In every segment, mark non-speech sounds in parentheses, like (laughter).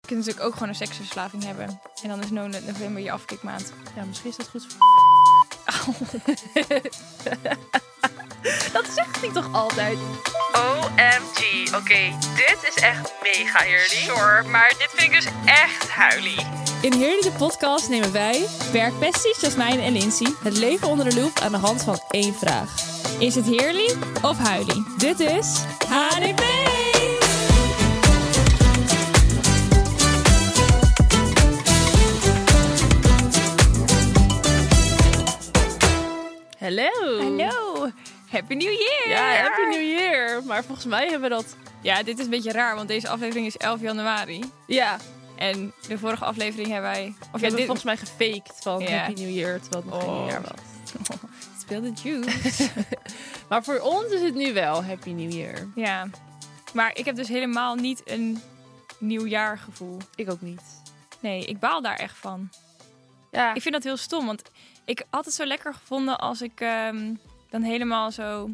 Je kunt natuurlijk ook gewoon een seksverslaving hebben. En dan is no Nut november je afkikmaand. Ja, misschien is dat goed voor... (laughs) Dat zegt hij toch altijd? OMG. Oké, dit is echt mega eerlijk. Sure, maar dit vind ik dus echt huilie. In Heerlijke Podcast nemen wij, werkbesties Jasmijn en Lindsay, het leven onder de loep aan de hand van één vraag. Is het heerlijk of huilie? Dit is HDP! Hallo. Hallo! Happy New Year! Ja, Happy New Year. Maar volgens mij hebben we dat... Ja, dit is een beetje raar, want deze aflevering is 11 januari. Ja, En de vorige aflevering hebben wij... we Of ja, hebben dit... volgens mij gefaked van Ja. Happy New Year, terwijl het nog geen Oh. nieuwjaar was. (laughs) Speel de juice. Maar voor ons is het nu wel Happy New Year. Ja, maar ik heb dus helemaal niet een nieuwjaargevoel. Ik ook niet. Nee, ik baal daar echt van. Ja, Ik vind dat heel stom, want ik had het zo lekker gevonden als ik ehm, dan helemaal zo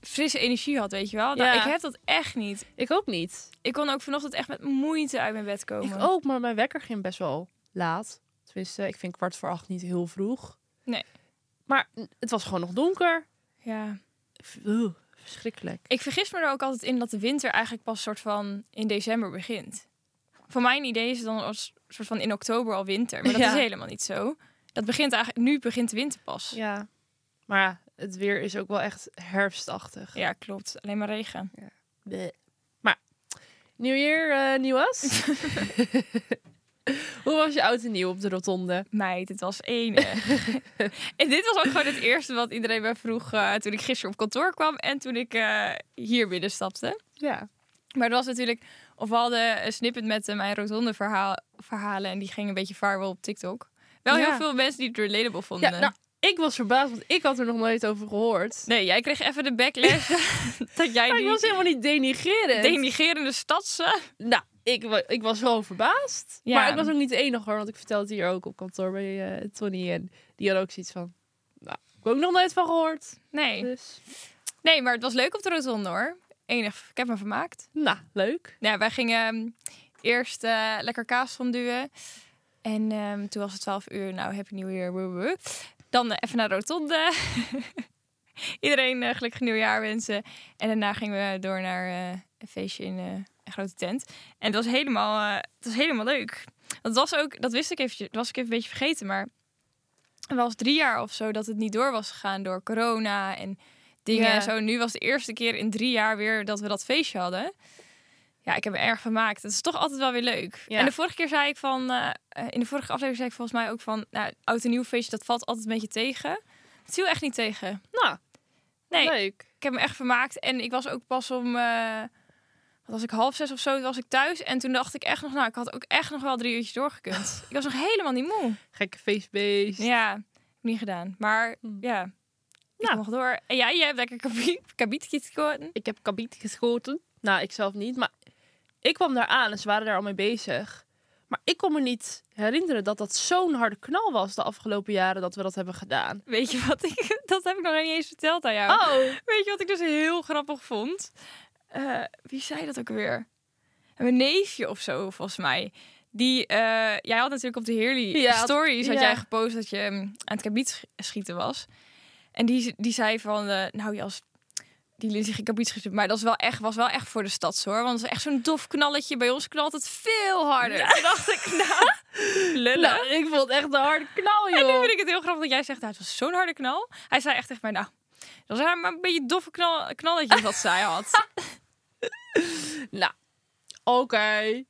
frisse energie had, weet je wel. Nou, Ja. ik heb dat echt niet. ik ook niet. Ik kon ook vanochtend echt met moeite uit mijn bed komen. Ik ook, maar mijn wekker ging best wel laat. Tenminste, ik vind kwart voor acht niet heel vroeg. Nee. Maar het was gewoon nog donker. Ja. Ugh, verschrikkelijk. Ik vergis me er ook altijd in dat de winter eigenlijk pas soort van in december begint. Van mijn idee is het dan als soort van in oktober al winter, maar dat Ja. is helemaal niet zo. Dat begint eigenlijk, nu begint de winter pas. Ja. Maar ja, het weer is ook wel echt herfstachtig. Ja, klopt. Alleen maar regen. Bleh. Maar, nieuw jaar, eh nieuw as. (laughs) Hoe was je oud en nieuw op de rotonde? Meid, het was (laughs) enig. en dit was ook gewoon het eerste wat iedereen mij vroeg eh, toen ik gisteren op kantoor kwam en toen ik eh, hier binnenstapte. Ja. Maar het was natuurlijk, of we hadden een snippet met eh, mijn rotonde verhaal, verhalen en die ging een beetje vaarwel op TikTok. Wel Ja. heel veel mensen die het relatable ja vonden. nou, ik was verbaasd, want ik had er nog nooit over gehoord. Nee, jij kreeg even de (laughs) backlash dat jij Maar Oh, ik die was helemaal niet denigrerend. denigerende stadsen. nou, ik, wa- ik was wel verbaasd. Ja. Maar ik was ook niet de enige hoor, want ik vertelde het hier ook op kantoor bij eh, Tony. En die had ook zoiets van, nou, ik heb ook nog nooit van gehoord. Nee. Dus, nee, maar het was leuk op de rotonde hoor. Enig, ik heb me vermaakt. nou, leuk. Nou, wij gingen ehm, eerst eh, lekker kaas fonduwen. En ehm, toen was het 12 uur. Nou, happy new year. woe, woe. Dan eh, even naar de rotonde. Iedereen eh, gelukkig nieuwjaar wensen. En daarna gingen we door naar eh, een feestje in eh, een grote tent. En het was helemaal, eh, het was helemaal leuk. Dat was ook, dat wist ik eventjes, dat was ik even een beetje vergeten. Maar het was drie jaar of zo dat het niet door was gegaan door corona en dingen Ja. en zo. Nu was de eerste keer in drie jaar weer dat we dat feestje hadden. Ja, ik heb me erg vermaakt. Het is toch altijd wel weer leuk. Ja. En de vorige keer zei ik van... eh, eh, in de vorige aflevering zei ik volgens mij ook van... Nou, oud en nieuw feestje, dat valt altijd een beetje tegen. Het viel echt niet tegen. Nou, Nee, leuk. ik heb me echt vermaakt. En ik was ook pas om... eh, wat was ik, half zes of zo, was ik thuis. En toen dacht ik echt nog... Nou, ik had ook echt nog wel drie uurtjes (laughs) doorgekund. ik was nog helemaal niet moe. Gekke feestbeest. Ja, heb ik niet gedaan. Maar Hm. ja, ik Nou. mocht door. En jij, jij hebt lekker kabi- kabietjes gekozen. Ik heb kabiet geschoten. Nou, ik zelf niet. Maar ik kwam daar aan en ze waren daar al mee bezig. Maar ik kon me niet herinneren dat dat zo'n harde knal was de afgelopen jaren dat we dat hebben gedaan. Weet je wat ik... (laughs) Dat heb ik nog niet eens verteld aan jou. Oh, Weet je wat ik dus heel grappig vond? Eh, wie zei dat ook weer? Mijn neefje of zo, volgens mij. Die, eh, jij had natuurlijk op de Heerly Ja, Stories had ja. jij gepost dat je mm, aan het kabiet sch- schieten was. En die, die zei van, eh, nou Jas, die Lindsay ging kabiet schieten. Maar dat is wel echt, was wel echt voor de stads hoor. Want het is echt zo'n dof knalletje. Bij ons knalt het veel harder. Toen dacht ik, nou, (laughs) lullen. nou, ik vond het echt een harde knal, (laughs) En nu joh. vind (laughs) ik het heel grappig dat jij zegt, nou, het was zo'n harde knal. Hij zei echt tegen mij, nou, dat was maar een beetje doffe knal, knalletje wat zij had. Nou, oké.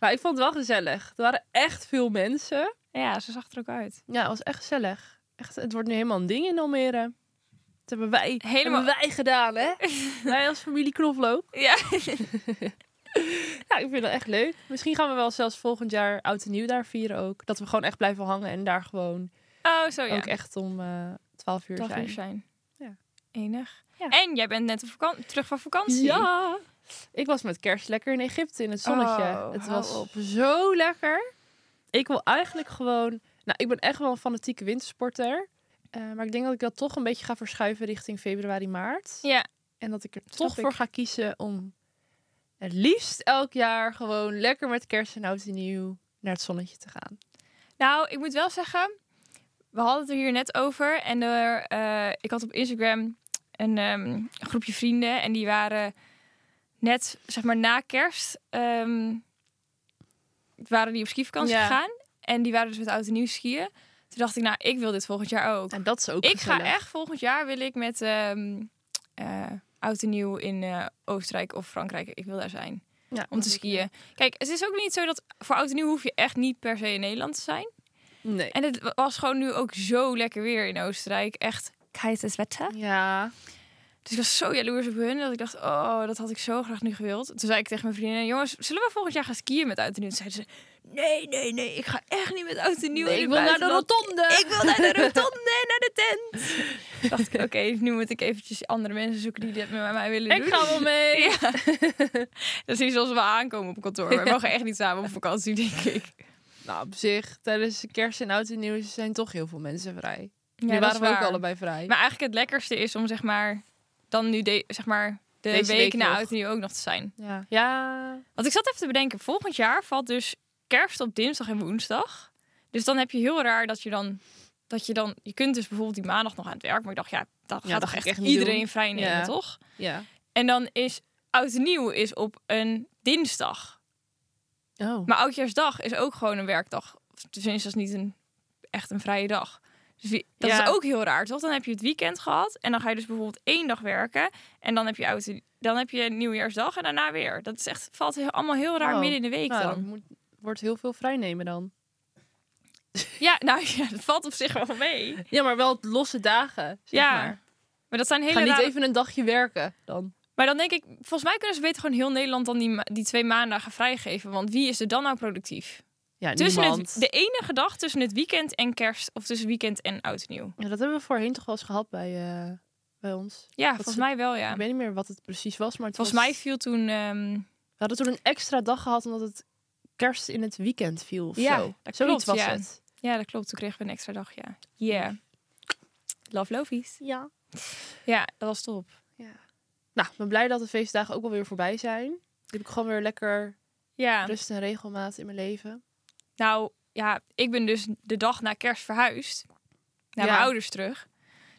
Maar ik vond het wel gezellig. Er waren echt veel mensen. Ja, ze zag er ook uit. Ja, het was echt gezellig. Echt, het wordt nu helemaal een ding in Almere. Dat hebben wij, Helemaal- hebben wij gedaan, (laughs) hè? wij als familie Knoflook. Ja. (laughs) Ja, ik vind dat echt leuk. Misschien gaan we wel zelfs volgend jaar oud en nieuw daar vieren ook. Dat we gewoon echt blijven hangen en daar gewoon Oh, zo ja. ook echt om eh 12 uur Twaalf zijn. uur zijn. Ja. Enig. Ja. En jij bent net op vakan- terug van vakantie. Ja! Ik was met kerst lekker in Egypte in het zonnetje. Oh, het hou was op. zo lekker. Ik wil eigenlijk gewoon... Nou, ik ben echt wel een fanatieke wintersporter. Eh, maar ik denk dat ik dat toch een beetje ga verschuiven richting februari, maart. Ja. En dat ik er snap toch voor ik. ga kiezen om eh, het liefst elk jaar gewoon lekker met kerst en oud en nieuw naar het zonnetje te gaan. Nou, ik moet wel zeggen, we hadden het er hier net over. En er, eh, ik had op Instagram een ehm, groepje vrienden. En die waren net, zeg maar, na kerst, ehm, waren die op skivakantie Ja. gegaan. En die waren dus met oud en nieuw skiën. Toen dacht ik, nou, ik wil dit volgend jaar ook. En dat is ook ik ga gezellig. echt volgend jaar wil ik met ehm eh, oud en nieuw in eh, Oostenrijk of Frankrijk. Ik wil daar zijn Ja, om dat te is skiën. Kijk, het is ook niet zo dat voor oud en nieuw hoef je echt niet per se in Nederland te zijn. leuk. Nee. En het was gewoon nu ook zo lekker weer in Oostenrijk. Echt keites wetter. Ja. Dus ik was zo jaloers op hun dat ik dacht, oh, dat had ik zo graag nu gewild. Toen zei ik tegen mijn vriendin, jongens, zullen we volgend jaar gaan skiën met oud en nieuw? Toen zeiden ze, nee, nee, nee, ik ga echt niet met oud en nieuw. in ik het wil naar de buitenland. (laughs) rotonde. Ik wil naar (laughs) de (laughs) rotonde, en naar de tent. Toen dacht ik, oké, nu moet ik eventjes andere mensen zoeken die dit met mij willen doen. Ik ga wel mee. Ja. (laughs) Dat is zoals we aankomen op kantoor. We mogen echt niet samen op vakantie, denk ik. Nou, op zich, tijdens kerst en oud en nieuw zijn toch heel veel mensen vrij. Ja, nu dat is waren we ook waar. allebei vrij. Maar eigenlijk het lekkerste is om zeg maar dan nu de, zeg maar de Deze week, week na nog. oud en nieuw ook nog te zijn. Ja. ja. Want ik zat even te bedenken, volgend jaar valt dus kerst op dinsdag en woensdag. Dus dan heb je heel raar dat je dan dat je dan je kunt dus bijvoorbeeld die maandag nog aan het werk, maar ik dacht ja, dat Ja, gaat dat toch ga ik echt, echt niet iedereen doen. vrij nemen, Ja. toch? Ja. En dan is oud en nieuw is op een dinsdag. Oh. Maar oudjaarsdag is ook gewoon een werkdag. Of Tenminste, dat is niet een, echt een vrije dag. Dus wie- dat Ja. is ook heel raar, toch? Dan heb je het weekend gehad en dan ga je dus bijvoorbeeld één dag werken. En dan heb je, oud, dan heb je nieuwjaarsdag en daarna weer. Dat is echt, valt heel, allemaal heel raar Oh, midden in de week nou, dan. moet, wordt heel veel vrij nemen dan. Ja, nou ja, dat valt op zich wel mee. Ja, maar wel losse dagen. Zeg Ja, maar. Maar dat zijn hele Ga niet rare- even een dagje werken dan. Maar dan denk ik, volgens mij kunnen ze beter gewoon heel Nederland dan die, ma- die twee maandagen vrijgeven. Want wie is er dan nou productief? Ja, Tussen niemand. het, de enige dag tussen het weekend en kerst, of tussen weekend en oud en nieuw. Ja, dat hebben we voorheen toch wel eens gehad bij, eh, bij ons. Ja, is volgens het- mij wel, ja. Ik weet niet meer wat het precies was, maar het Volgens was... mij viel toen. ehm, We hadden toen een extra dag gehad omdat het kerst in het weekend viel of Ja, zo. dat Zoiets klopt, was ja. het. ja, dat klopt. Toen kregen we een extra dag, ja. Yeah. Love lovies. Ja. Ja, dat was top. Nou, ik ben blij dat de feestdagen ook alweer voorbij zijn. Nu heb ik gewoon weer lekker Ja, rust en Dus regelmaat in mijn leven. Dus- nou ja, ik ben dus de dag na kerst verhuisd. Naar Ja. mijn ouders terug.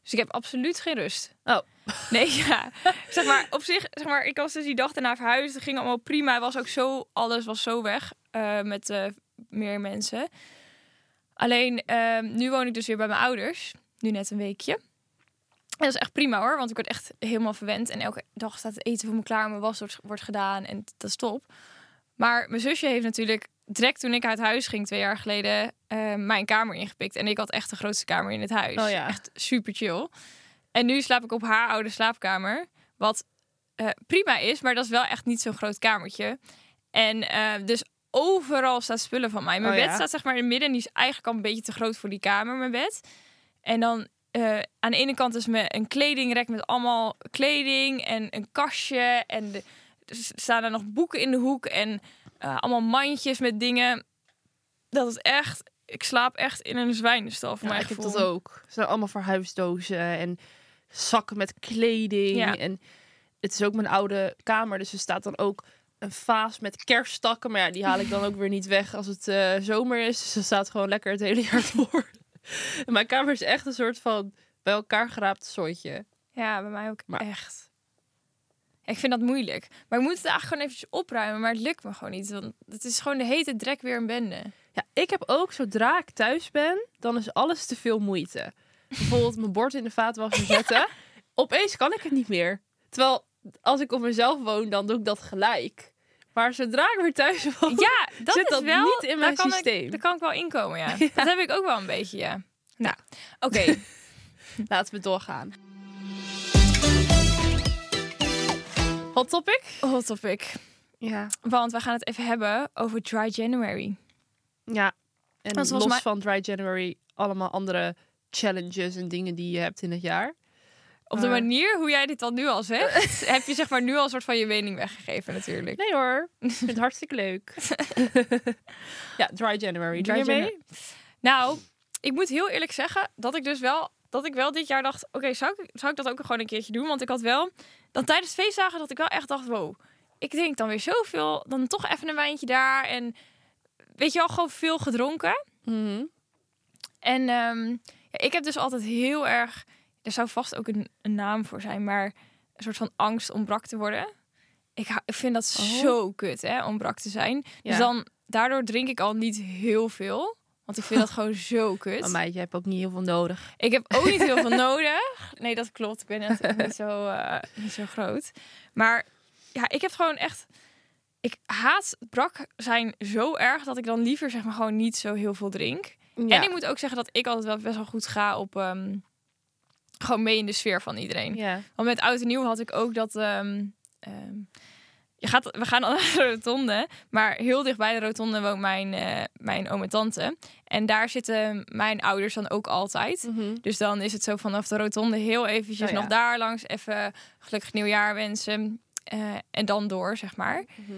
Dus ik heb absoluut geen rust. Oh. (laughs) Nee, ja. zeg maar, op zich, zeg maar, ik was dus die dag daarna verhuisd. Het ging allemaal prima. Was ook zo, alles was zo weg eh, met eh, meer mensen. Alleen, ehm, nu woon ik dus weer bij mijn ouders. Nu net een weekje. En dat is echt prima hoor, want ik word echt helemaal verwend. En elke dag staat het eten voor me klaar, mijn was wordt, wordt gedaan en dat is top. Maar mijn zusje heeft natuurlijk direct toen ik uit huis ging twee jaar geleden eh, mijn kamer ingepikt. En ik had echt de grootste kamer in het huis. Oh ja. Echt super chill. En nu slaap ik op haar oude slaapkamer, wat eh, prima is, maar dat is wel echt niet zo'n groot kamertje. En eh, dus overal staat spullen van mij. Mijn Oh bed ja. staat zeg maar in het midden en die is eigenlijk al een beetje te groot voor die kamer, mijn bed. En dan eh, aan de ene kant is me een kledingrek met allemaal kleding en een kastje. En de- er s- staan er nog boeken in de hoek en eh, allemaal mandjes met dingen. Dat is echt... Ik slaap echt in een zwijnenstal voor Nou, mij. ik heb dat ook. Er zijn allemaal verhuisdozen en zakken met kleding. Ja. En het is ook mijn oude kamer, dus er staat dan ook een vaas met kerststakken. Maar ja, die haal ik dan ook weer niet weg als het eh, zomer is. Dus dat staat gewoon lekker het hele jaar (laughs) door. En mijn kamer is echt een soort van bij elkaar geraapt soortje. Ja, bij mij ook Maar- echt. Ik vind dat moeilijk. Maar ik moet het eigenlijk gewoon eventjes opruimen. Maar het lukt me gewoon niet. Want het is gewoon de hete drek weer een bende. (laughs) Ja, ik heb ook, zodra ik thuis ben, dan is alles te veel moeite. Bijvoorbeeld mijn bord in de (laughs) vaatwasser zetten. Opeens kan ik het niet meer. Terwijl, als ik op mezelf woon, dan doe ik dat gelijk. Maar zodra ik weer thuis woon... Ja, dat Zit is dat wel. niet in daar mijn kan Ik, systeem? daar kan ik wel inkomen, (laughs) ja. Dat heb ik ook wel een beetje, ja. Nou, oké. (laughs) Laten we doorgaan. (laughs) Hot topic? Hot topic. Ja. Want we gaan het even hebben over Dry January. Ja. En volgens los mij- van Dry January allemaal andere challenges en dingen die je hebt in het jaar. Op de Eh. manier hoe jij dit dan nu al (laughs) zegt, heb je zeg maar nu al een soort van je mening weggegeven natuurlijk. Nee hoor, ik vind het hartstikke (laughs) leuk. (laughs) ja, Dry January. Doe Dry je mee? January. Nou, ik moet heel eerlijk zeggen dat ik dus wel dat ik wel dit jaar dacht, oké, zou, ik, zou ik dat ook gewoon een keertje doen? Want ik had wel dan tijdens feestdagen dat ik wel echt dacht, wow, ik denk dan weer zoveel. Dan toch even een wijntje daar. En weet je wel, gewoon veel gedronken. Mhm. En ehm, ja, ik heb dus altijd heel erg... Er zou vast ook een, een naam voor zijn, maar... Een soort van angst om brak te worden. Ik, hou- ik vind dat Oh. zo kut, hè, om brak te zijn. Dus Ja. dan, daardoor drink ik al niet heel veel. Want ik vind dat (laughs) gewoon zo kut. Oh, Maar meid, je hebt ook niet heel veel nodig. Ik heb ook niet (laughs) heel veel nodig. Nee, dat klopt. Ik ben net ook niet zo, eh, niet zo groot. Maar ja, ik heb gewoon echt... Ik haat brak zijn zo erg dat ik dan liever zeg maar gewoon niet zo heel veel drink. En ik moet ook zeggen dat ik altijd wel best wel goed ga op... ehm, gewoon mee in de sfeer van iedereen. ja. Want met oud en nieuw had ik ook dat... ehm, ehm, je gaat, we gaan al (laughs) naar de rotonde. Maar heel dicht bij de rotonde woont mijn, eh, mijn oom en tante. En daar zitten mijn ouders dan ook altijd. Dus dan is het zo vanaf de rotonde heel eventjes Oh ja. nog daar langs. Even gelukkig nieuwjaar wensen. eh, en dan door, zeg maar. Mhm.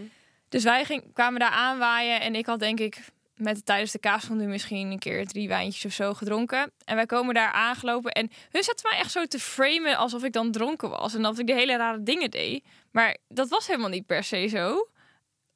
Dus wij ging, kwamen daar aanwaaien. En ik had denk ik met tijdens de kaasfondue misschien een keer drie wijntjes of zo gedronken. En wij komen daar aangelopen. En hun zaten mij echt zo te framen alsof ik dan dronken was. En dat ik de hele rare dingen deed. Maar dat was helemaal niet per se zo.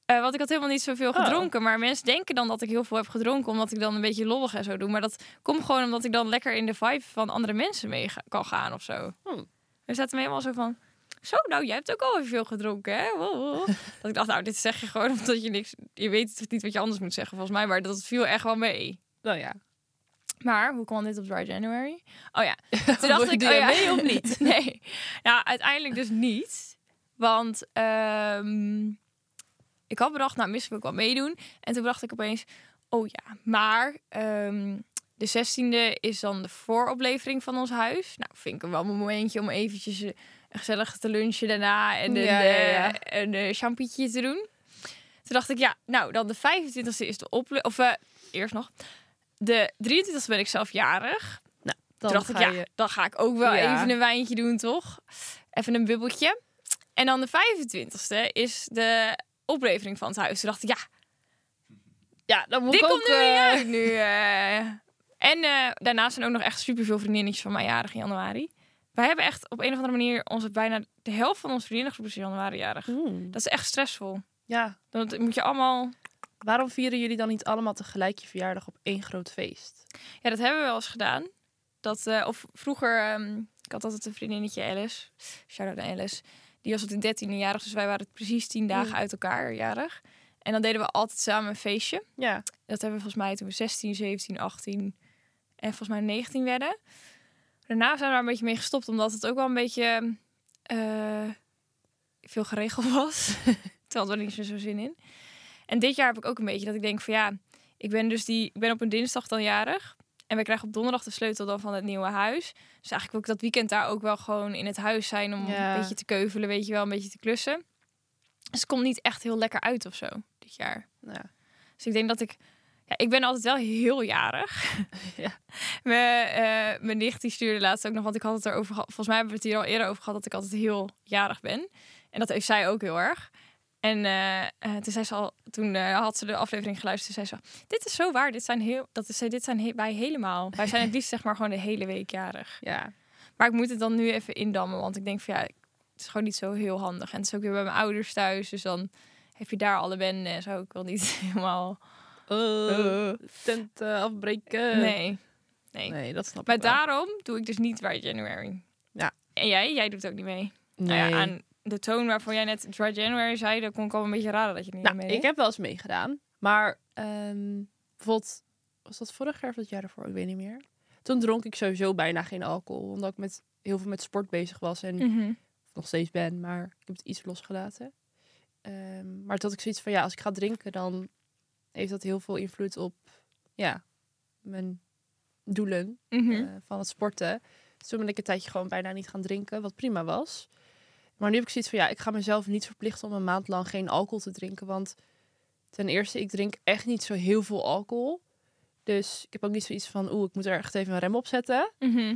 Eh, want ik had helemaal niet zoveel Oh. gedronken. Maar mensen denken dan dat ik heel veel heb gedronken. Omdat ik dan een beetje lollig en zo doe. Maar dat komt gewoon omdat ik dan lekker in de vibe van andere mensen mee ga- kan gaan of zo. Hmm. Er zaten me helemaal zo van... Zo, nou, jij hebt ook al even veel gedronken, hè? Wow, wow. Dat ik dacht, nou, dit zeg je gewoon (laughs) omdat je niks... Je weet niet wat je anders moet zeggen, volgens mij. Maar dat viel echt wel mee. Nou ja. Maar hoe kwam dit op Dry January? Oh (laughs) ja, toen dacht ik, Doe oh je ja. mee of niet? (laughs) nee, nou uiteindelijk dus niet. Want ehm, ik had bedacht, nou misschien wil ik wel meedoen. En toen dacht ik opeens, oh ja, maar ehm, de 16e is dan de vooroplevering van ons huis. Nou, vind ik wel een momentje om eventjes eh, een gezellig te lunchen daarna en een, Ja, ja, ja. eh, een eh, champietje te doen. Toen dacht ik, ja, nou dan de 25e is de ople... Of eh, eerst nog. De 23e ben ik zelf jarig. Dan Toen dacht ga ik, ja, je- dan ga ik ook wel Ja. even een wijntje doen, toch? Even een bubbeltje. En dan de 25e is de oplevering van het huis. Toen dacht ik, ja, ja, dan moet dit ik komt ook... nu eh, niet uit nu. eh. En eh, daarnaast zijn ook nog echt superveel vriendinnetjes van mijn jarig in januari. Wij hebben echt op een of andere manier onze, bijna de helft van onze vriendinnengroep is in januari jarig. Hmm. Dat is echt stressvol. Ja, Dat moet je allemaal... waarom vieren jullie dan niet allemaal tegelijk je verjaardag op één groot feest? Ja, dat hebben we wel eens gedaan. Dat, eh, of vroeger, ehm, ik had altijd een vriendinnetje Alice, shout-out aan Alice. Die was op de dertiende jarig, dus wij waren precies tien Mm. dagen uit elkaar jarig. En dan deden we altijd samen een feestje. Ja. Dat hebben we volgens mij toen we 16, 17, 18 en volgens mij 19 werden. Daarna zijn we daar een beetje mee gestopt, omdat het ook wel een beetje eh, veel geregeld (laughs) was. Terwijl hadden we er niet zo zin in. En dit jaar heb ik ook een beetje dat ik denk van ja, ik ben dus die, ik ben op een dinsdag dan jarig. En we krijgen op donderdag de sleutel dan van het nieuwe huis. Dus eigenlijk wil ik dat weekend daar ook wel gewoon in het huis zijn om Ja. een beetje te keuvelen, weet je wel, een beetje te klussen. Dus het komt niet echt heel lekker uit of zo dit jaar. Ja. Dus ik denk dat ik, ja, ik ben altijd wel heel jarig. (laughs) Ja. Mijn, eh, mijn nicht die stuurde laatst ook nog, want ik had het erover gehad. Volgens mij hebben we het hier al eerder over gehad dat ik altijd heel jarig ben. En dat heeft zij ook heel erg. En eh, eh, toen, zei ze al, toen eh, had ze de aflevering geluisterd. Toen zei ze: al, Dit is zo waar. Dit zijn, heel, dat is, dit zijn he- wij helemaal. Wij zijn het liefst zeg maar gewoon de hele week jarig. Ja. Maar ik moet het dan nu even indammen. Want ik denk van ja, het is gewoon niet zo heel handig. En het is ook weer bij mijn ouders thuis. Dus dan heb je daar alle wennen en zo. Ik wil niet (laughs) helemaal. Eh, tent eh, afbreken. nee. nee. Nee, dat snap Maar ik wel. daarom doe ik dus niet Dry January. Ja. En jij? Jij doet ook niet mee. Nee. Nou ja, aan de toon waarvan jij net Dry January zei, dan kon ik al een beetje raden dat je niet Nou, mee ik heb wel eens meegedaan. Maar ehm, bijvoorbeeld, was dat vorig jaar of dat jaar ervoor? Ik weet niet meer. Toen dronk ik sowieso bijna geen alcohol. Omdat ik met, heel veel met sport bezig was en Mhm. nog steeds ben. Maar ik heb het iets losgelaten. Ehm, maar dat ik zoiets van, ja, als ik ga drinken, dan heeft dat heel veel invloed op ja, mijn doelen Mhm. eh, van het sporten. Dus toen ben ik een tijdje gewoon bijna niet gaan drinken, wat prima was. Maar nu heb ik zoiets van, ja, ik ga mezelf niet verplichten om een maand lang geen alcohol te drinken. Want ten eerste, ik drink echt niet zo heel veel alcohol. Dus ik heb ook niet zoiets van, oeh, ik moet er echt even een rem op zetten. Mhm.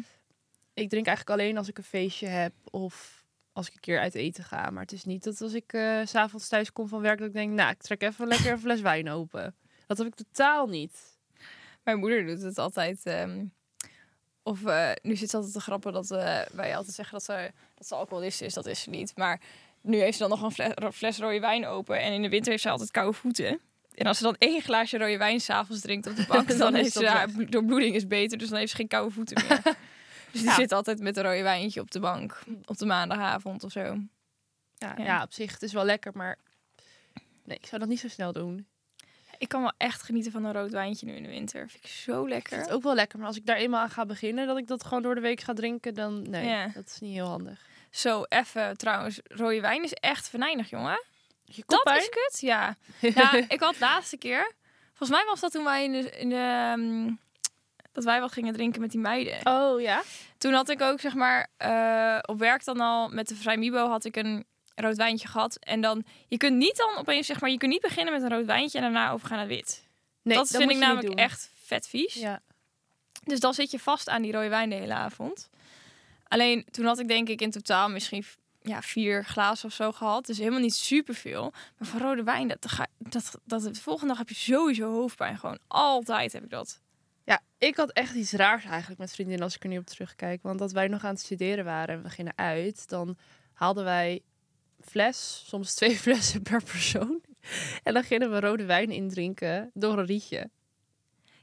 Ik drink eigenlijk alleen als ik een feestje heb of als ik een keer uit eten ga. Maar het is niet dat als ik eh, s s'avonds thuis kom van werk, dat ik denk, nou, ik trek even lekker een fles wijn open. Dat heb ik totaal niet. Mijn moeder doet het altijd. ehm, of eh, nu zit ze altijd te grappen dat eh, wij altijd zeggen dat ze, dat ze alcoholist is. Dat is ze niet. Maar Nu heeft ze dan nog een fles, ro- fles rode wijn open. En in de winter heeft ze altijd koude voeten. En als ze dan één glaasje rode wijn s'avonds drinkt op de (laughs) bank, dan, Dan is heeft ze dat haar blo- doorbloeding is beter. Dus dan heeft ze geen koude voeten (laughs) meer. dus die Ja. zit altijd met een rode wijntje op de bank. Op de maandagavond of zo. Ja, Ja. ja. op zich, het is wel lekker, maar nee, ik zou dat niet zo snel doen. Ik kan wel echt genieten van een rood wijntje nu in de winter. Vind ik zo Ik vind lekker. het ook wel lekker, maar als ik daar eenmaal aan ga beginnen, dat ik dat gewoon door de week ga drinken, dan nee, Ja. dat is niet heel handig. Zo, even trouwens. Rode wijn is echt venijnig, jongen. Je Dat is kut, (laughs) ja. ja. Ik had de laatste keer... Volgens mij was dat toen wij in de... In de ehm, dat wij wat gingen drinken met die meiden. Oh ja. Toen had ik ook, zeg maar, eh, op werk dan al met de Vrijmibo had ik een rood wijntje gehad. En dan, je kunt niet dan opeens, zeg maar, je kunt niet beginnen met een rood wijntje en daarna overgaan naar wit. Nee, dat, moet vind ik je niet namelijk doen. echt vet vies. Ja. Dus dan zit je vast aan die rode wijn de hele avond. Alleen toen had ik denk ik in totaal misschien v- ja, vier glazen of zo gehad. Dus helemaal niet superveel. Maar van rode wijn, dat, ga- dat, dat, de volgende dag heb je sowieso hoofdpijn. Gewoon altijd heb ik dat. ja, ik had echt iets raars eigenlijk met vriendinnen als ik er nu op terugkijk. Want dat wij nog aan het studeren waren en we gingen uit, dan haalden wij fles, soms twee (laughs) flessen per persoon. En dan gingen we rode wijn indrinken door een rietje.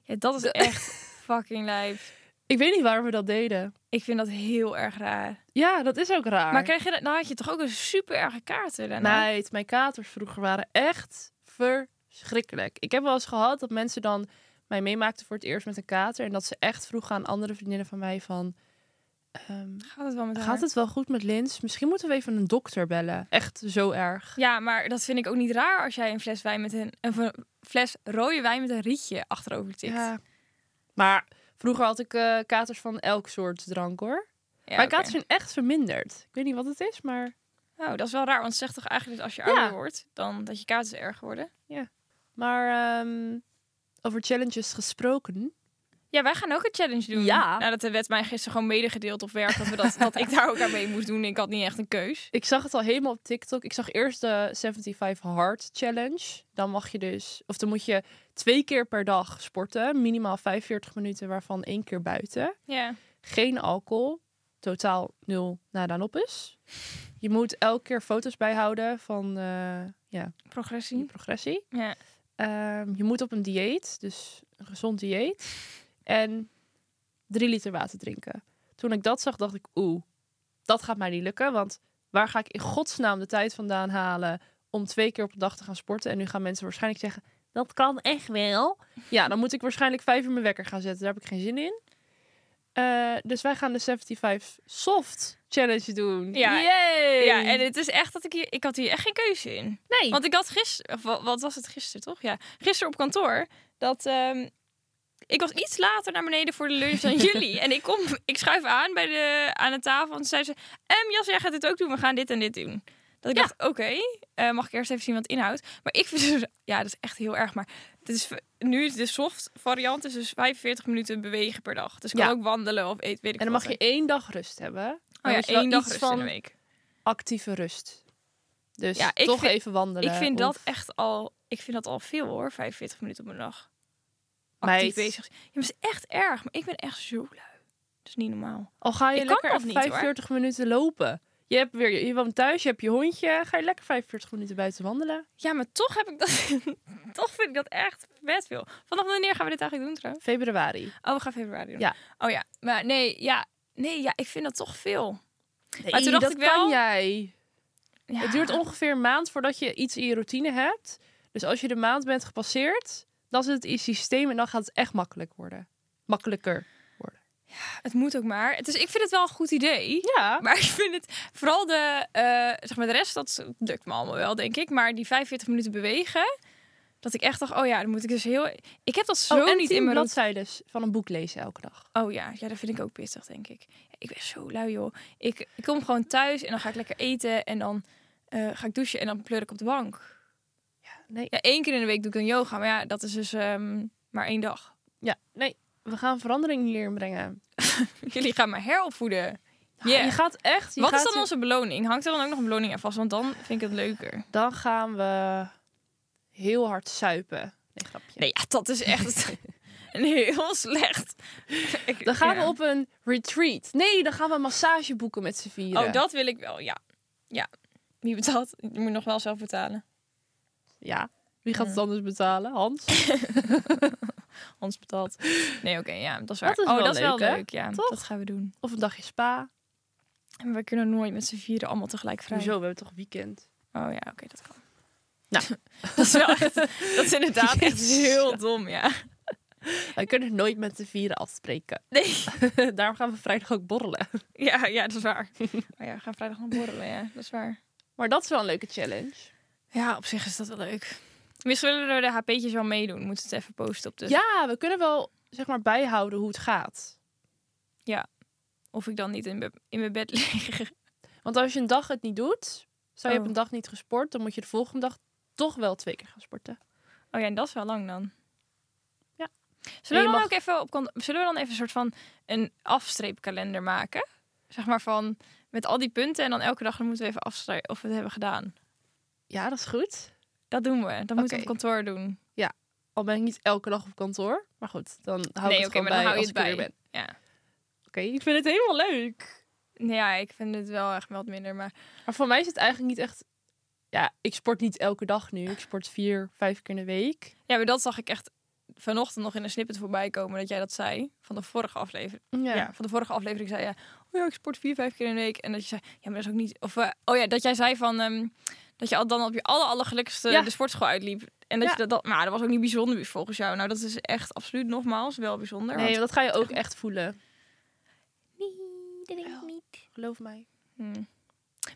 Ja, dat is echt (laughs) fucking lijf. Ik weet niet waarom we dat deden. Ik vind dat heel erg raar. Ja, dat is ook raar. Maar kreeg je dat, nou had je toch ook een super erge nou? kaarten daarna? Meid, mijn katers vroeger waren echt verschrikkelijk. Ik heb wel eens gehad dat mensen dan mij meemaakten voor het eerst met een kater. En dat ze echt vroegen aan andere vriendinnen van mij van... ehm, Gaat het wel met haar? gaat het wel goed met Lins? Misschien moeten we even een dokter bellen. Echt zo erg. Ja, maar dat vind ik ook niet raar als jij een fles wijn met een, een v- fles rode wijn met een rietje achterover tikt. Ja. Maar vroeger had ik eh, katers van elk soort drank hoor. Ja, maar oké. katers zijn echt verminderd. Ik weet niet wat het is, maar... Oh, dat is wel raar, want ze zegt toch eigenlijk dat als je Ja. ouder wordt, dan dat je kaarten erger worden. Maar ehm, over challenges gesproken. Ja, wij gaan ook een challenge doen. Ja. Nou, dat werd mij gisteren gewoon medegedeeld op werk dat, we (laughs) dat, dat ik daar ook aan mee moest doen. Ik had niet echt een keus. Ik zag het al helemaal op TikTok. Ik zag eerst de 75 Hard Challenge. Dan mag je dus, of dan moet je twee keer per dag sporten. Minimaal 45 minuten, waarvan één keer buiten. Ja. Geen alcohol. Totaal nul nada noppes. Je moet elke keer foto's bijhouden van eh, ja, je Progressie. progressie. Mm. Ja. Ehm, je moet op een dieet, dus een gezond dieet. En drie liter water drinken. Toen ik dat zag, dacht ik, oeh, dat gaat mij niet lukken. Want waar ga ik in godsnaam de tijd vandaan halen om twee keer op een dag te gaan sporten? En nu gaan mensen waarschijnlijk zeggen, dat kan echt wel. Ja, dan moet ik waarschijnlijk vijf uur mijn wekker gaan zetten. Daar heb ik geen zin in. Eh, dus wij gaan de 75 Soft Challenge doen. Ja. Yay! Ja, en het is echt dat ik hier, ik had hier echt geen keuze in. nee. Want ik had gisteren, of wa- wat was het gisteren toch? Ja, gisteren op kantoor dat ehm, ik was iets later naar beneden voor de lunch (laughs) dan jullie. En ik kom, ik schuif aan bij de aan de tafel en toen zei ze: "Em, Jas, jij gaat dit ook doen. We gaan dit en dit doen." Dat ik Ja. dacht: "Oké, eh, mag ik eerst even zien wat het (laughs) inhoudt?" Maar ik vind dus, ja, dat is echt heel erg. Maar dit is nu is de soft variant is dus 45 minuten bewegen per dag. Dus ik kan Ja. ook wandelen of eten, weet ik en dan wat. mag je één dag rust hebben. oh, dan ja, moet je wel één dag iets rust in van de week. actieve rust. Dus Ja, ik toch vind- even wandelen. Ik vind of- dat echt al, ik vind dat al veel hoor, 45 minuten op een dag. Actief Meid. bezig. zijn. Ja, maar het is echt erg, maar ik ben echt zo lui. Dat is niet normaal. Al ga je Ik kan lekker dat even niet, hoor. 45 minuten lopen. Je hebt weer je woont thuis, je hebt je hondje, ga je lekker 45 minuten buiten wandelen. Ja, maar toch heb ik dat, (laughs) toch vind ik dat echt vet veel. Vanaf wanneer gaan we dit eigenlijk doen trouwens? Februari. Oh, we gaan februari doen. Ja. Oh ja, maar nee, ja, nee, ja, ik vind dat toch veel. Nee, toen dacht dat ik wel- kan jij. Ja. Het duurt ongeveer een maand voordat je iets in je routine hebt. Dus als je de maand bent gepasseerd, dan zit het in je systeem en dan gaat het echt makkelijk worden. Makkelijker. Het moet ook maar. Het is, ik vind het wel een goed idee. Ja. (laughs) Maar ik vind het vooral de, eh, zeg maar de rest, dat lukt me allemaal wel, denk ik. Maar die 45 minuten bewegen, dat ik echt dacht, oh ja, dan moet ik dus heel. Ik heb dat zo oh, en niet 10 in mijn routine. bladzijden van een boek lezen elke dag. Oh ja, ja, dat vind ik ook pittig, denk ik. Ja, ik ben zo lui, joh. Ik, ik kom gewoon thuis en dan ga ik lekker eten en dan eh, ga ik douchen en dan pleur ik op de bank. Nee. Ja, één keer in de week doe ik dan yoga, maar ja, dat is dus ehm, maar één dag. (laughs) Ja, nee. We gaan verandering hierin brengen. Jullie gaan me heropvoeden. Je Yeah. gaat echt. Je Wat is gaat dan onze beloning? Hangt er dan ook nog een beloning aan vast? Want dan vind ik het leuker. Dan gaan we heel hard suipen. Nee, grapje. Nee, ja, dat is (laughs) echt een heel slecht. Ik- Dan gaan ja. we op een retreat. Nee, dan gaan we een massage boeken met z'n vieren. Oh, dat wil ik wel, ja. Ja. Wie betaalt? Je moet nog wel zelf betalen. Ja. Wie gaat het anders betalen? Hans? Hans betaalt. Nee, oké, ja, dat is waar. Dat is oh, wel dat is wel leuk, hè? leuk. Ja, Toch? dat gaan we doen. Of een dagje spa? En we kunnen nooit met z'n vieren allemaal tegelijk vrij. Hoezo? We hebben toch weekend? Oh ja, oké, dat (laughs) kan. (laughs) dat is wel echt, dat is inderdaad echt Jezus. heel dom, ja. Wij kunnen nooit met de vieren (laughs) afspreken. Nee. Daarom gaan we vrijdag ook borrelen. Ja, ja, dat is (laughs) waar. Maar ja, we gaan vrijdag nog borrelen, ja, dat is waar. Maar dat is wel een leuke challenge. Ja, op zich is dat wel leuk. Misschien willen we de HP'tjes wel meedoen. We moeten het even posten op de... Ja, we kunnen wel zeg maar bijhouden hoe het gaat. Of ik dan niet in, be- in mijn bed (laughs) lig. Want als je een dag het niet doet, zou je Oh. op een dag niet gesport, dan moet je de volgende dag toch wel twee keer gaan sporten. Oh ja, en dat is wel lang dan. Ja. Zullen En we, je dan mag- ook even op, kon- zullen we dan even een soort van een afstreepkalender maken? Zeg maar van met al die punten en dan elke dag dan moeten we even afstrepen of we het hebben gedaan. Ja, dat is goed. Dat doen we. Dat moeten we Oké. op kantoor doen. Al ben ik niet elke dag op kantoor, maar goed, dan hou Nee, ik het oké, gewoon maar bij dan hou je als het ik bij. er weer ben. Ja. Oké, ik vind het helemaal leuk. Nee, Nou ja, ik vind het wel echt wat minder. Maar Maar voor mij is het eigenlijk niet echt... Ja, ik sport niet elke dag nu. Ik sport vier, vijf keer in de week. ja, maar dat zag ik echt vanochtend nog in een snippet voorbij komen dat jij dat zei van de vorige aflevering. Ja, van de vorige aflevering zei je, oh ja, ik sport vier, vijf keer in de week. En dat je zei, ja, maar dat is ook niet. Of eh, oh ja, dat jij zei van ehm, dat je al dan op je aller, allergelukkigste Ja. de sportschool uitliep. En dat Ja. je dat, dat, maar dat was ook niet bijzonder volgens jou. Nou, dat is echt absoluut nogmaals wel bijzonder. Nee, want- dat ga je ook echt voelen. dat denk ik (laughs) niet. Geloof mij. hmm.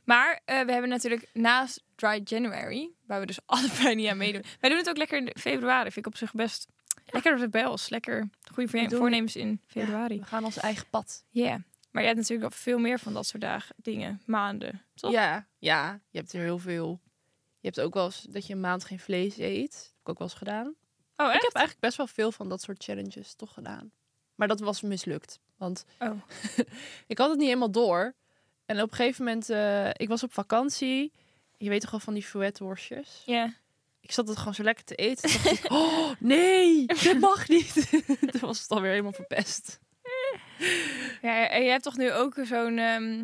Maar eh, we hebben natuurlijk naast Dry January, waar we dus (laughs) allebei niet aan meedoen. Wij doen het ook lekker in februari, vind ik op zich best. Lekker op de bels, lekker goede We doen- voornemens in februari. We gaan ons eigen pad. Ja, maar jij hebt natuurlijk al veel meer van dat soort dagen, dingen, maanden, toch? Ja, ja, je hebt er heel veel. Je hebt ook wel eens dat je een maand geen vlees eet. Dat heb ik ook wel eens gedaan. Oh, Ik echt? heb eigenlijk best wel veel van dat soort challenges toch gedaan. Maar dat was mislukt. Want Oh. (laughs) ik had het niet helemaal door. En op een gegeven moment, eh, ik was op vakantie. Je weet toch wel van die fouetworstjes? Ja. Ik zat het gewoon zo lekker te eten. Toen (laughs) dacht ik, oh nee, dit mag niet. (laughs) Toen was het alweer helemaal verpest. ja. En je hebt toch nu ook zo'n... ehm,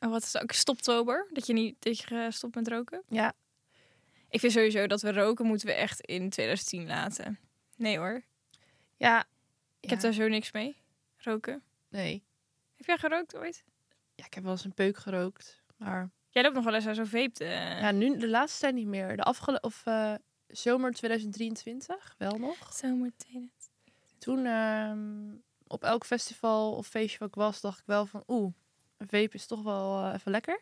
oh, wat is dat ook? Stoptober? Dat je niet dat je eh, stopt met roken? Ja. Ik vind sowieso dat we roken moeten we echt in 2010 laten. Nee hoor. Ja. Ik heb daar zo niks mee. Roken. Nee. Heb jij gerookt ooit? Ja, ik heb wel eens een peuk gerookt. Maar Jij loopt nog wel eens aan zo'n vape. eh. Ja, nu de laatste tijd niet meer. De afgelopen of eh, zomer 2023 wel nog. Zomertijden. Toen ehm, op elk festival of feestje wat ik was, dacht ik wel van oeh, een vape is toch wel eh, even lekker.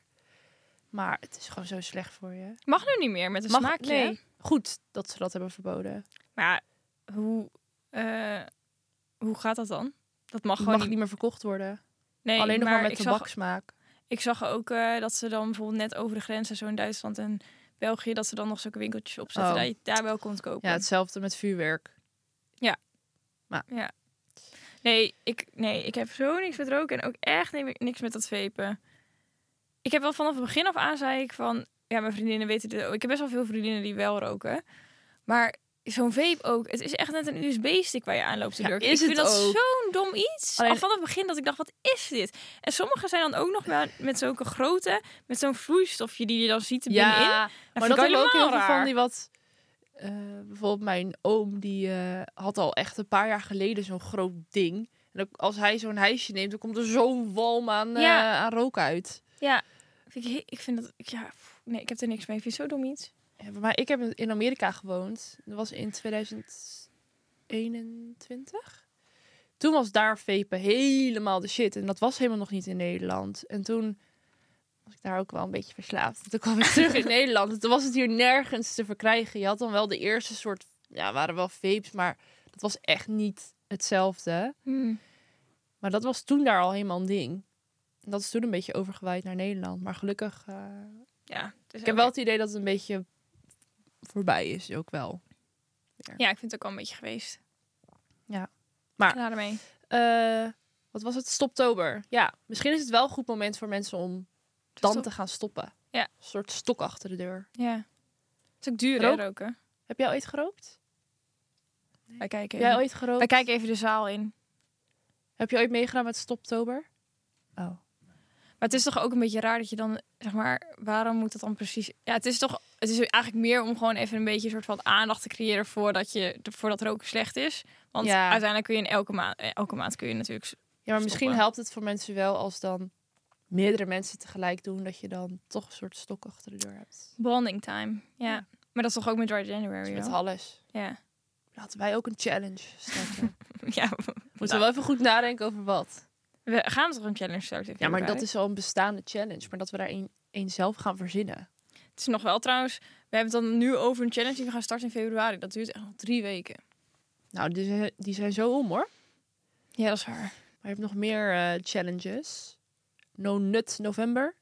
Maar het is gewoon zo slecht voor je. Mag nu niet meer met een Mag- smaakje. nee. hè? Goed dat ze dat hebben verboden. Maar ja, hoe, eh, hoe gaat dat dan? Dat mag Het gewoon mag niet meer verkocht worden. Nee, Alleen nog maar maar met ik zag tabaksmaak. Ik zag ook eh, dat ze dan bijvoorbeeld net over de grenzen, zo in Duitsland en België, dat ze dan nog zulke winkeltjes opzetten Oh. dat je het daar wel komt kopen. Ja, hetzelfde met vuurwerk. nee, ik, nee, ik heb zo niks met roken en ook echt ni- niks met dat vepen. Ik heb wel vanaf het begin af aan zei ik van, ja, mijn vriendinnen weten dit ook. Ik heb best wel veel vriendinnen die wel roken. Maar zo'n vape ook, het is echt net een USB-stick waar je aan loopt te Ja, lurken. is ik het vind dat ook. zo'n dom iets. Alleen- Al vanaf het begin dat ik dacht, wat is dit? En sommige zijn dan ook nog wel met zulke grote, met zo'n vloeistofje die je dan ziet er binnenin. Maar dat hebben ook heel veel van die wat... eh, bijvoorbeeld mijn oom, die eh, had al echt een paar jaar geleden zo'n groot ding. En ook als hij zo'n hijsje neemt, dan komt er zo'n walm aan, eh, Ja. aan rook uit. Ja, vind ik, he- ik vind dat... ik- Ja, pff, nee, ik heb er niks mee. Ik vind het zo dom iets. Ja, maar ik heb in Amerika gewoond. Dat was in 2021. Toen was daar vapen helemaal de shit. En dat was helemaal nog niet in Nederland. En toen was ik daar ook wel een beetje verslaafd. Toen kwam ik terug in Nederland. En toen was het hier nergens te verkrijgen. Je had dan wel de eerste soort... Ja, waren wel vapes, maar dat was echt niet hetzelfde. Maar dat was toen daar al helemaal een ding. En dat is toen een beetje overgewaaid naar Nederland. Maar gelukkig... eh, Ja, het is ik heb wel het idee dat het een beetje voorbij is, ook wel. Ja, ik vind het ook al een beetje geweest. Ja. Maar- Klaar ermee. Eh, wat was het? Stoptober. Ja, misschien is het wel een goed moment voor mensen om dan Stop. te gaan stoppen. Ja. Een soort stok achter de deur. Ja. Het is ook duur, Rook- hè, roken. Heb jij ooit gerookt? Wij kijken Heb jij even. ooit gerookt? Wij kijken even de zaal in. Heb je ooit meegedaan met Stoptober? Oh. Maar het is toch ook een beetje raar dat je dan, zeg maar, waarom moet dat dan precies? Ja, het is toch, het is eigenlijk meer om gewoon even een beetje een soort van aandacht te creëren voordat je, voordat roken slecht is. Want Ja. uiteindelijk kun je in elke maand, elke maand kun je natuurlijk. s- Ja, maar misschien Stoppen. helpt het voor mensen wel als dan meerdere mensen tegelijk doen, dat je dan toch een soort stok achter de deur hebt. Bonding time. Ja. Ja. Maar dat is toch ook met Dry Dus January? met wel? alles. Ja. Laten wij ook een challenge starten. (laughs) ja. Moeten Nou. we wel even goed nadenken over wat. We gaan toch een challenge starten? Ja, maar dat is al een bestaande challenge, maar dat we daar een, een zelf gaan verzinnen. Het is nog wel trouwens. We hebben het dan nu over een challenge die we gaan starten in februari. Dat duurt echt nog drie weken. Nou, die zijn, die zijn zo om hoor. Ja, dat is waar. Maar je hebt nog meer eh, challenges. No Nut November.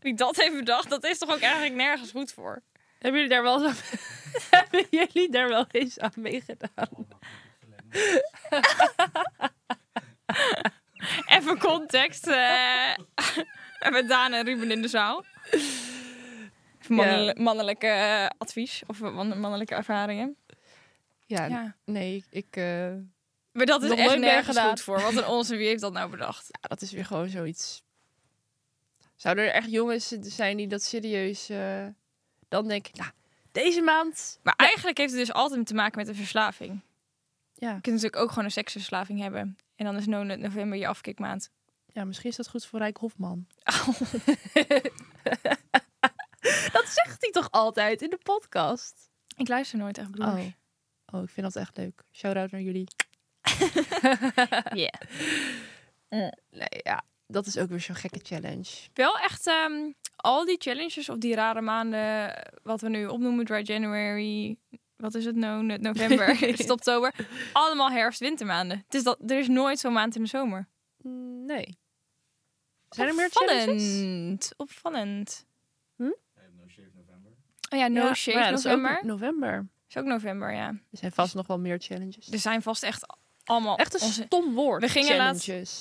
Wie dat heeft bedacht, dat is toch ook eigenlijk nergens goed voor. Hebben jullie daar wel eens aan... (laughs) Hebben jullie daar wel eens aan meegedaan? Even context. eh (laughs) met Daan en Ruben in de zaal. Even mannel- mannelijke eh, advies of man- mannelijke ervaringen. Ja, Ja. nee, ik... eh, Maar dat is Nog echt nooit meer nergens gedaan. goed voor. Want een onze, wie heeft dat nou bedacht? ja, dat is weer gewoon zoiets. Zouden er echt jongens zijn die dat serieus... eh, dan denk ik, nou, deze maand... Maar eigenlijk heeft het dus altijd te maken met een verslaving. Ja. Je kunt natuurlijk ook gewoon een seksverslaving hebben. En dan is no Nut november je afkikmaand. ja, misschien is dat goed voor Rijk (laughs) Hofman. dat zegt hij toch altijd in de podcast? Ik luister nooit echt broers. Oh. oh, ik vind dat echt leuk. Shout-out naar jullie. (laughs) Yeah. Eh, Nee, ja, dat is ook weer zo'n gekke challenge. Wel echt ehm, al die challenges of die rare maanden eh, wat we nu opnoemen, Dry January, wat is het nou, net november, (laughs) is het oktober, allemaal herfst-wintermaanden. Het is dat er is nooit zo'n maand in de zomer. Mm, Nee. Zijn Oh, er meer challenges? Opvallend, opvallend. No Shave November. Oh ja, no Ja, shave maar ja, dat is ook november. november. Is ook november, ja. Er zijn vast nog wel meer challenges. Er zijn vast echt allemaal Echt een Dus onze- stom woord. We gingen laatst- challenges.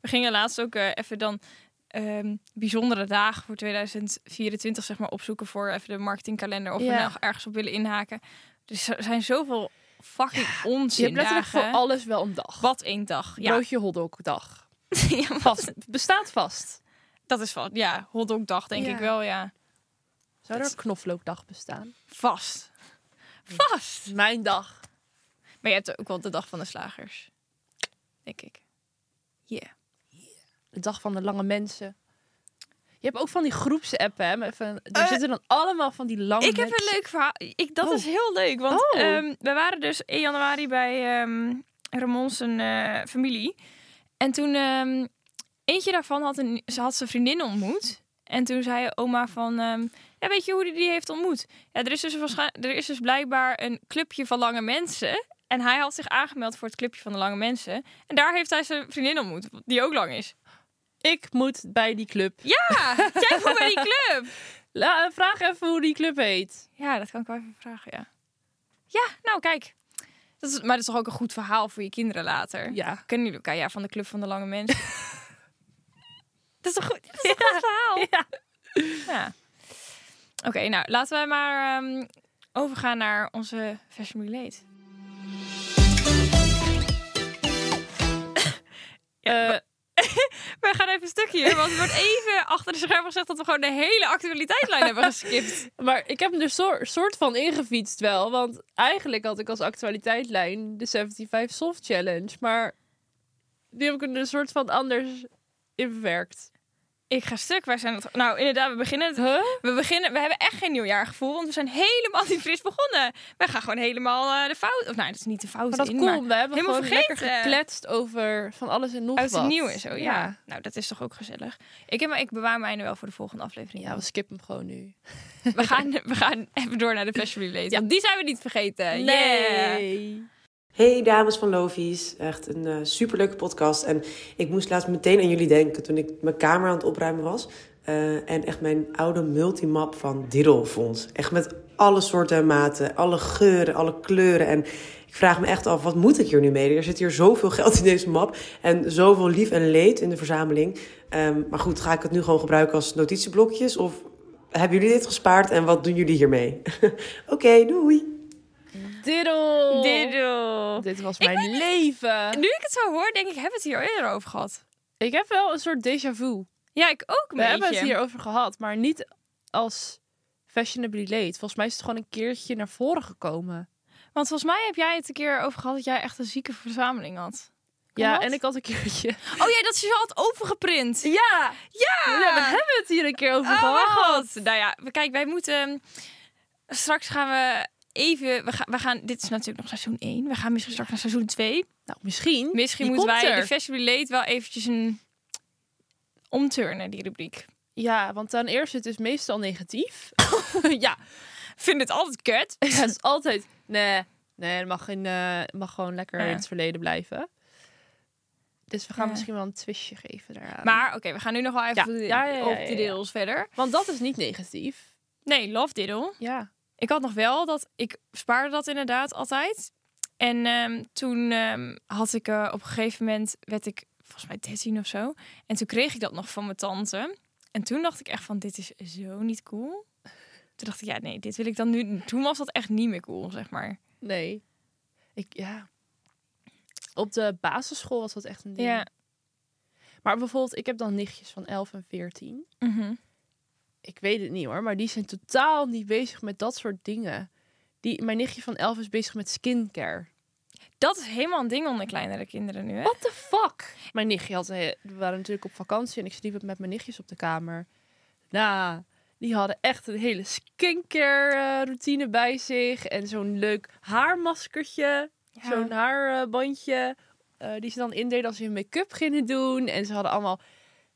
We gingen laatst ook eh, even dan ehm, bijzondere dagen voor 2024 zeg maar, opzoeken voor even de marketingkalender. Of we Ja. nou ergens op willen inhaken. Dus er zijn zoveel fucking onzin Je hebt letterlijk dagen. voor alles wel een dag. Wat één dag. Ja, Broodje hotdogdag. (laughs) Ja, maar Vast. Bestaat vast. dat is van, ja, hotdogdag denk Ja. ik wel, ja. Zou er een knoflookdag bestaan? Vast. Vast. Mijn dag. Maar je hebt ook wel de dag van de slagers. Denk ik. De dag van de lange mensen. Je hebt ook van die groepsappen. Hè? met van- Daar Eh, zitten dan allemaal van die lange Ik heb een leuk verhaal. Ik, dat Oh. is heel leuk. Want Oh. ehm, we waren dus in januari bij ehm Ramon zijn eh, familie. En toen ehm, eentje daarvan had, een, ze had zijn vriendin ontmoet. En toen zei oma van, ehm, ja, weet je hoe die, die heeft ontmoet? Ja, er, is dus waarschijn- er is dus blijkbaar een clubje van lange mensen. En hij had zich aangemeld voor het clubje van de lange mensen. En daar heeft hij zijn vriendin ontmoet, die ook lang is. Ik moet bij die club. (laughs) Ja, jij voelt bij die club. La, eh, vraag even hoe die club heet. Ja, dat kan ik wel even vragen, ja. Ja, nou kijk. Dat is, maar dat is toch ook een goed verhaal voor je kinderen later? Ja. Kennen jullie elkaar? Ja, van de Club van de Lange (laughs) Mensen. dat is toch goed, dat is een goed verhaal? Ja. Oké, nou laten wij maar ehm, overgaan naar onze Fashion Relate. (coughs) Ja, (laughs) Eh, Wij gaan even een stukje, want er wordt even achter de schermen gezegd dat we gewoon de hele actualiteitslijn (laughs) hebben geskipt. maar ik heb hem er soor- soort van ingefietst wel. Want eigenlijk had ik als actualiteitlijn de 75 Soft Challenge. Maar die heb ik er een soort van anders in verwerkt. Ik ga stuk, wij zijn het. Nou, inderdaad, we beginnen het Huh? We, beginnen, we hebben echt geen nieuwjaargevoel, want we zijn helemaal niet fris begonnen. Wij gaan gewoon helemaal eh, de fout... Of nou, dat is niet de fout Maar dat in, kon. maar We hebben helemaal gewoon lekker vergeten. gekletst over van alles en nog uit wat. het nieuw en zo, ja. Ja. Nou, dat is toch ook gezellig. Ik, heb, ik bewaar mijne wel voor de volgende aflevering. Ja, we skippen hem gewoon nu. We, gaan, we gaan even door naar de Fashion Relate, want die zijn we niet vergeten. Eh, Yeah. Hey dames van Lovies, echt een eh, superleuke podcast. En ik moest laatst meteen aan jullie denken toen ik mijn kamer aan het opruimen was. eh, en echt mijn oude multimap van Diddle vond. Echt met alle soorten en maten, alle geuren, alle kleuren. En ik vraag me echt af, wat moet ik hier nu mee? Er zit hier zoveel geld in deze map. En zoveel lief en leed in de verzameling. Ehm, maar goed, ga ik het nu gewoon gebruiken als (laughs) notitieblokjes? Of hebben jullie dit gespaard en wat doen jullie hiermee? Oké, doei! Diddle. Diddle. Dit was Ik mijn leven. Nu ik het zo hoor, denk ik, hebben we het hier eerder over gehad? Ik heb wel een soort déjà vu. Ja, ik ook een We hebben het beetje. hierover gehad, maar niet als fashionably late. Volgens mij is het gewoon een keertje naar voren gekomen. Want volgens mij heb jij het een keer over gehad dat jij echt een zieke verzameling had. ja, dat? en ik had een keertje. Oh ja, dat is je had overgeprint. Ja! Ah. (laughs) Ja! we hebben het hier een keer over Oh mijn gehad. god. Nou ja, we- kijk, wij moeten... ehm, Straks gaan we even... We gaan, we gaan, dit is natuurlijk nog seizoen 1. We gaan misschien straks naar seizoen 2. Nou, misschien. Misschien Die moeten komt wij er. de Fashion Relate wel eventjes een... omturnen, die rubriek. Ja, want ten eerste, het is dus meestal negatief. (laughs) ja, Ik Vind het altijd kut. Ja, het is altijd. Nee, nee, het mag, in, eh, het mag gewoon lekker Ja. in het verleden blijven. Dus we gaan Ja. misschien wel een twistje geven daaraan. Maar oké, we gaan nu nog wel even Ja. op de- Ja, ja, ja, op ja, de ja. deels verder. Want dat is niet negatief. Nee, love diddle. Ja. Ik had nog wel dat ik spaarde dat inderdaad altijd. En ehm, toen ehm, had ik eh, op een gegeven moment werd ik volgens mij 13 of zo. En toen kreeg ik dat nog van mijn tante. En toen dacht ik echt van dit is zo niet cool. Toen dacht ik ja nee, dit wil ik dan nu. Toen was dat echt niet meer cool zeg maar. Nee. Ik, ja. Op de basisschool was dat echt een ding. Ja. Maar bijvoorbeeld, ik heb dan nichtjes van 11 en 14. Mhm. Ik weet het niet hoor, maar die zijn totaal niet bezig met dat soort dingen. Die, mijn nichtje van 11 is bezig met skincare. Dat is helemaal een ding onder kleinere kinderen nu hè. What the fuck? Mijn nichtje had... eh, We waren natuurlijk op vakantie en ik sliep met mijn nichtjes op de kamer. Nou, die hadden echt een hele skincare eh, routine bij zich. En zo'n leuk haarmaskertje. Ja. Zo'n haarbandje. eh, die ze dan indeden als ze hun make-up gingen doen. En ze hadden allemaal...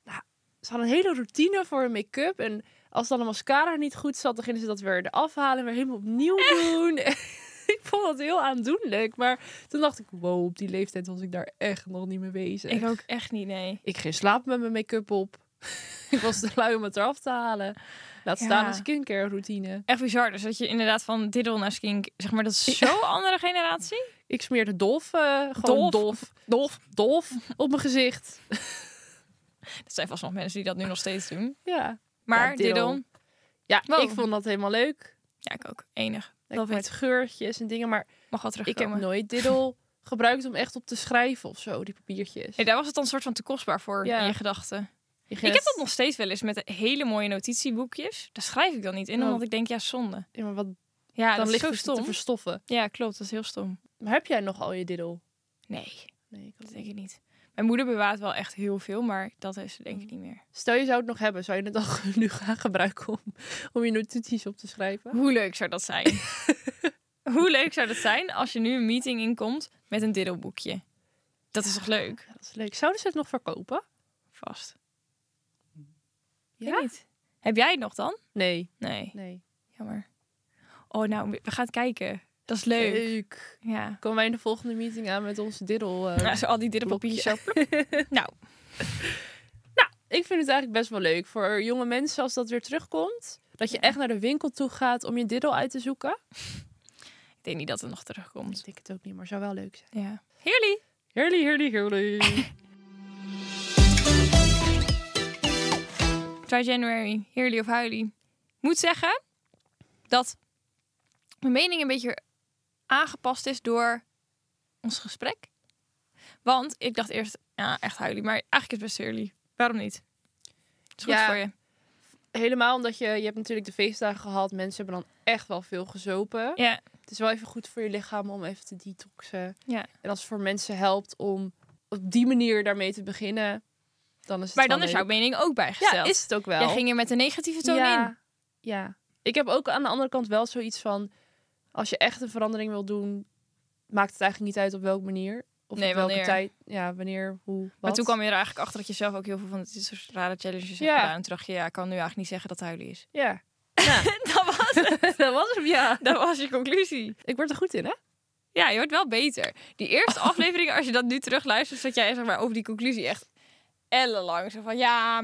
Nou, ze hadden een hele routine voor hun make-up. En als dan de mascara niet goed zat, dan gingen ze dat weer eraf halen. En weer helemaal opnieuw doen. (laughs) ik vond dat heel aandoenlijk. Maar toen dacht ik, wow, op die leeftijd was ik daar echt nog niet mee bezig. Ik ook echt niet nee. Ik ging slapen met mijn make-up op. (laughs) ik was te lui om het eraf te halen. Laat staan Ja. een skincare routine. Echt bizar. Dus dat je inderdaad van diddle naar skink, zeg maar, dat is zo'n andere generatie. Ik smeerde dolf, eh, gewoon Dolf. dolf, dolf, dolf (laughs) op mijn gezicht. Dat zijn vast nog mensen die dat nu nog steeds doen. Ja, Maar Ja, diddle. diddle. ja Wow. ik vond dat helemaal leuk. Ja, ik ook. Enig. Lekker Love met geurtjes en dingen. Maar Mag wel ik terugkomen. heb nooit diddel gebruikt om echt op te schrijven of zo, die papiertjes. Ja, daar was het dan soort van te kostbaar voor Ja. in je gedachten. Je Ik ging heb dat het- nog steeds wel eens met hele mooie notitieboekjes. Daar schrijf ik dan niet in, Oh. omdat ik denk, ja, zonde. Ja, maar wat, Ja, dan dat is ligt zo het te stom. verstoffen. Ja, klopt. Dat is heel stom. Maar heb jij nog al je diddel? Nee, Nee, ik had dat het denk ik niet. Mijn moeder bewaart wel echt heel veel, maar dat is ze Oh. denk ik niet meer. Stel je zou het nog hebben, zou je het dan (laughs) nu gaan gebruiken om, om je notities op te schrijven? Hoe leuk zou dat zijn? (laughs) Hoe leuk zou dat zijn als je nu een meeting inkomt met een diddelboekje? Dat is toch leuk? Ja, dat is leuk. Zouden ze het nog verkopen? Vast. Ja? Weet niet. Heb jij het nog dan? Nee. Nee, Nee. jammer. Oh, nou, we gaan het kijken. Dat is leuk. Eh, Ja. Komen wij in de volgende meeting aan met onze diddel? eh, Nou, zo al die diddelpapiertjes zo. plop. nou, (laughs) Ik vind het eigenlijk best wel leuk voor jonge mensen als dat weer terugkomt. Dat je echt naar de winkel toe gaat om je diddel uit te zoeken. ik denk niet dat het nog terugkomt. Ik denk het ook niet, maar zou wel leuk zijn. Ja. Heerlijk. Heerly, heerly, heerly. Try January, heerlijk of huilie. Ik Moet zeggen dat mijn mening een beetje aangepast is door ons gesprek. Want ik dacht eerst, ja, echt huilie. Maar eigenlijk is het best heerlijk. Waarom niet? Het is goed Ja. voor je. Helemaal omdat je, je hebt natuurlijk de feestdagen gehad. Mensen hebben dan echt wel veel gezopen. Ja, Het is wel even goed voor je lichaam om even te detoxen. Ja. En als het voor mensen helpt om op die manier daarmee te beginnen, dan is het maar dan wel is leuk. jouw mening ook bijgesteld. Ja, is het ook wel. Jij ging er met een negatieve toon in. ja. ja. Ik heb ook aan de andere kant wel zoiets van... als je echt een verandering wil doen... maakt het eigenlijk niet uit op welke manier. Of Nee, op welke wanneer. tijd. Ja, wanneer, hoe, wat. Maar toen kwam je er eigenlijk achter dat je zelf ook heel veel van dit soort rare challenges hebt Ja. gedaan. En toen dacht je, ja, ik kan nu eigenlijk niet zeggen dat het huilen is. Ja, (laughs) dat was (laughs) dat was hem, ja. Dat was je conclusie. Ik word er goed in, hè? Ja, je wordt wel beter. Die (laughs) eerste aflevering, als je dat nu terugluistert, zat jij zeg maar over die conclusie echt ellenlang. Zo van, ja,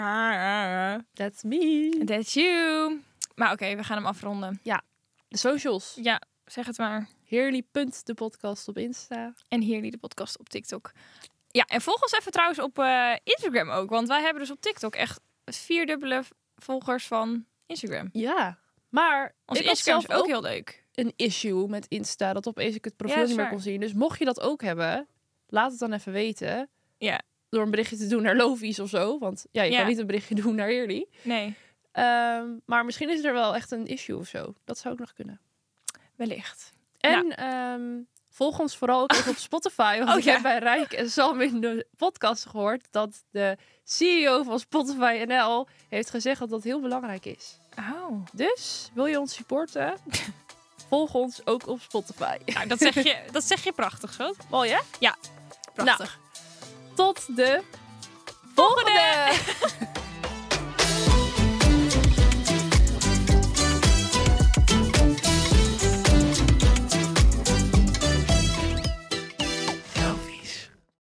maar... That's me. That's you. Maar oké, we gaan hem afronden. De socials. Ja, zeg het maar. Heerly.depodcast podcast op Insta. En hier die de podcast op TikTok. Ja, en volg ons even trouwens op eh, Instagram ook. Want wij hebben dus op TikTok echt vierdubbele volgers van Instagram. Ja. Maar Onze ik had Instagram zelf is ook ook heel leuk. een issue met Insta. Dat opeens ik het profiel Ja, is niet meer waar. kon zien. Dus mocht je dat ook hebben, laat het dan even weten. Ja. Door een berichtje te doen naar Lovies of zo. Want ja, je Ja. kan niet een berichtje (laughs) doen naar jullie. Nee, Ehm, maar misschien is er wel echt een issue of zo. Dat zou ook nog kunnen. wellicht. En ehm, volg ons vooral ook (laughs) even op Spotify. Want Nou. Oh, ik ja. heb bij Rijk en Sam in de podcast gehoord dat de CEO van Spotify NL heeft gezegd dat dat heel belangrijk is. Oh. Dus wil je ons supporten? (laughs) Volg ons ook op Spotify. Nou, dat zeg je, dat zeg je prachtig, zo. Mooi hè? Prachtig. Tot de volgende!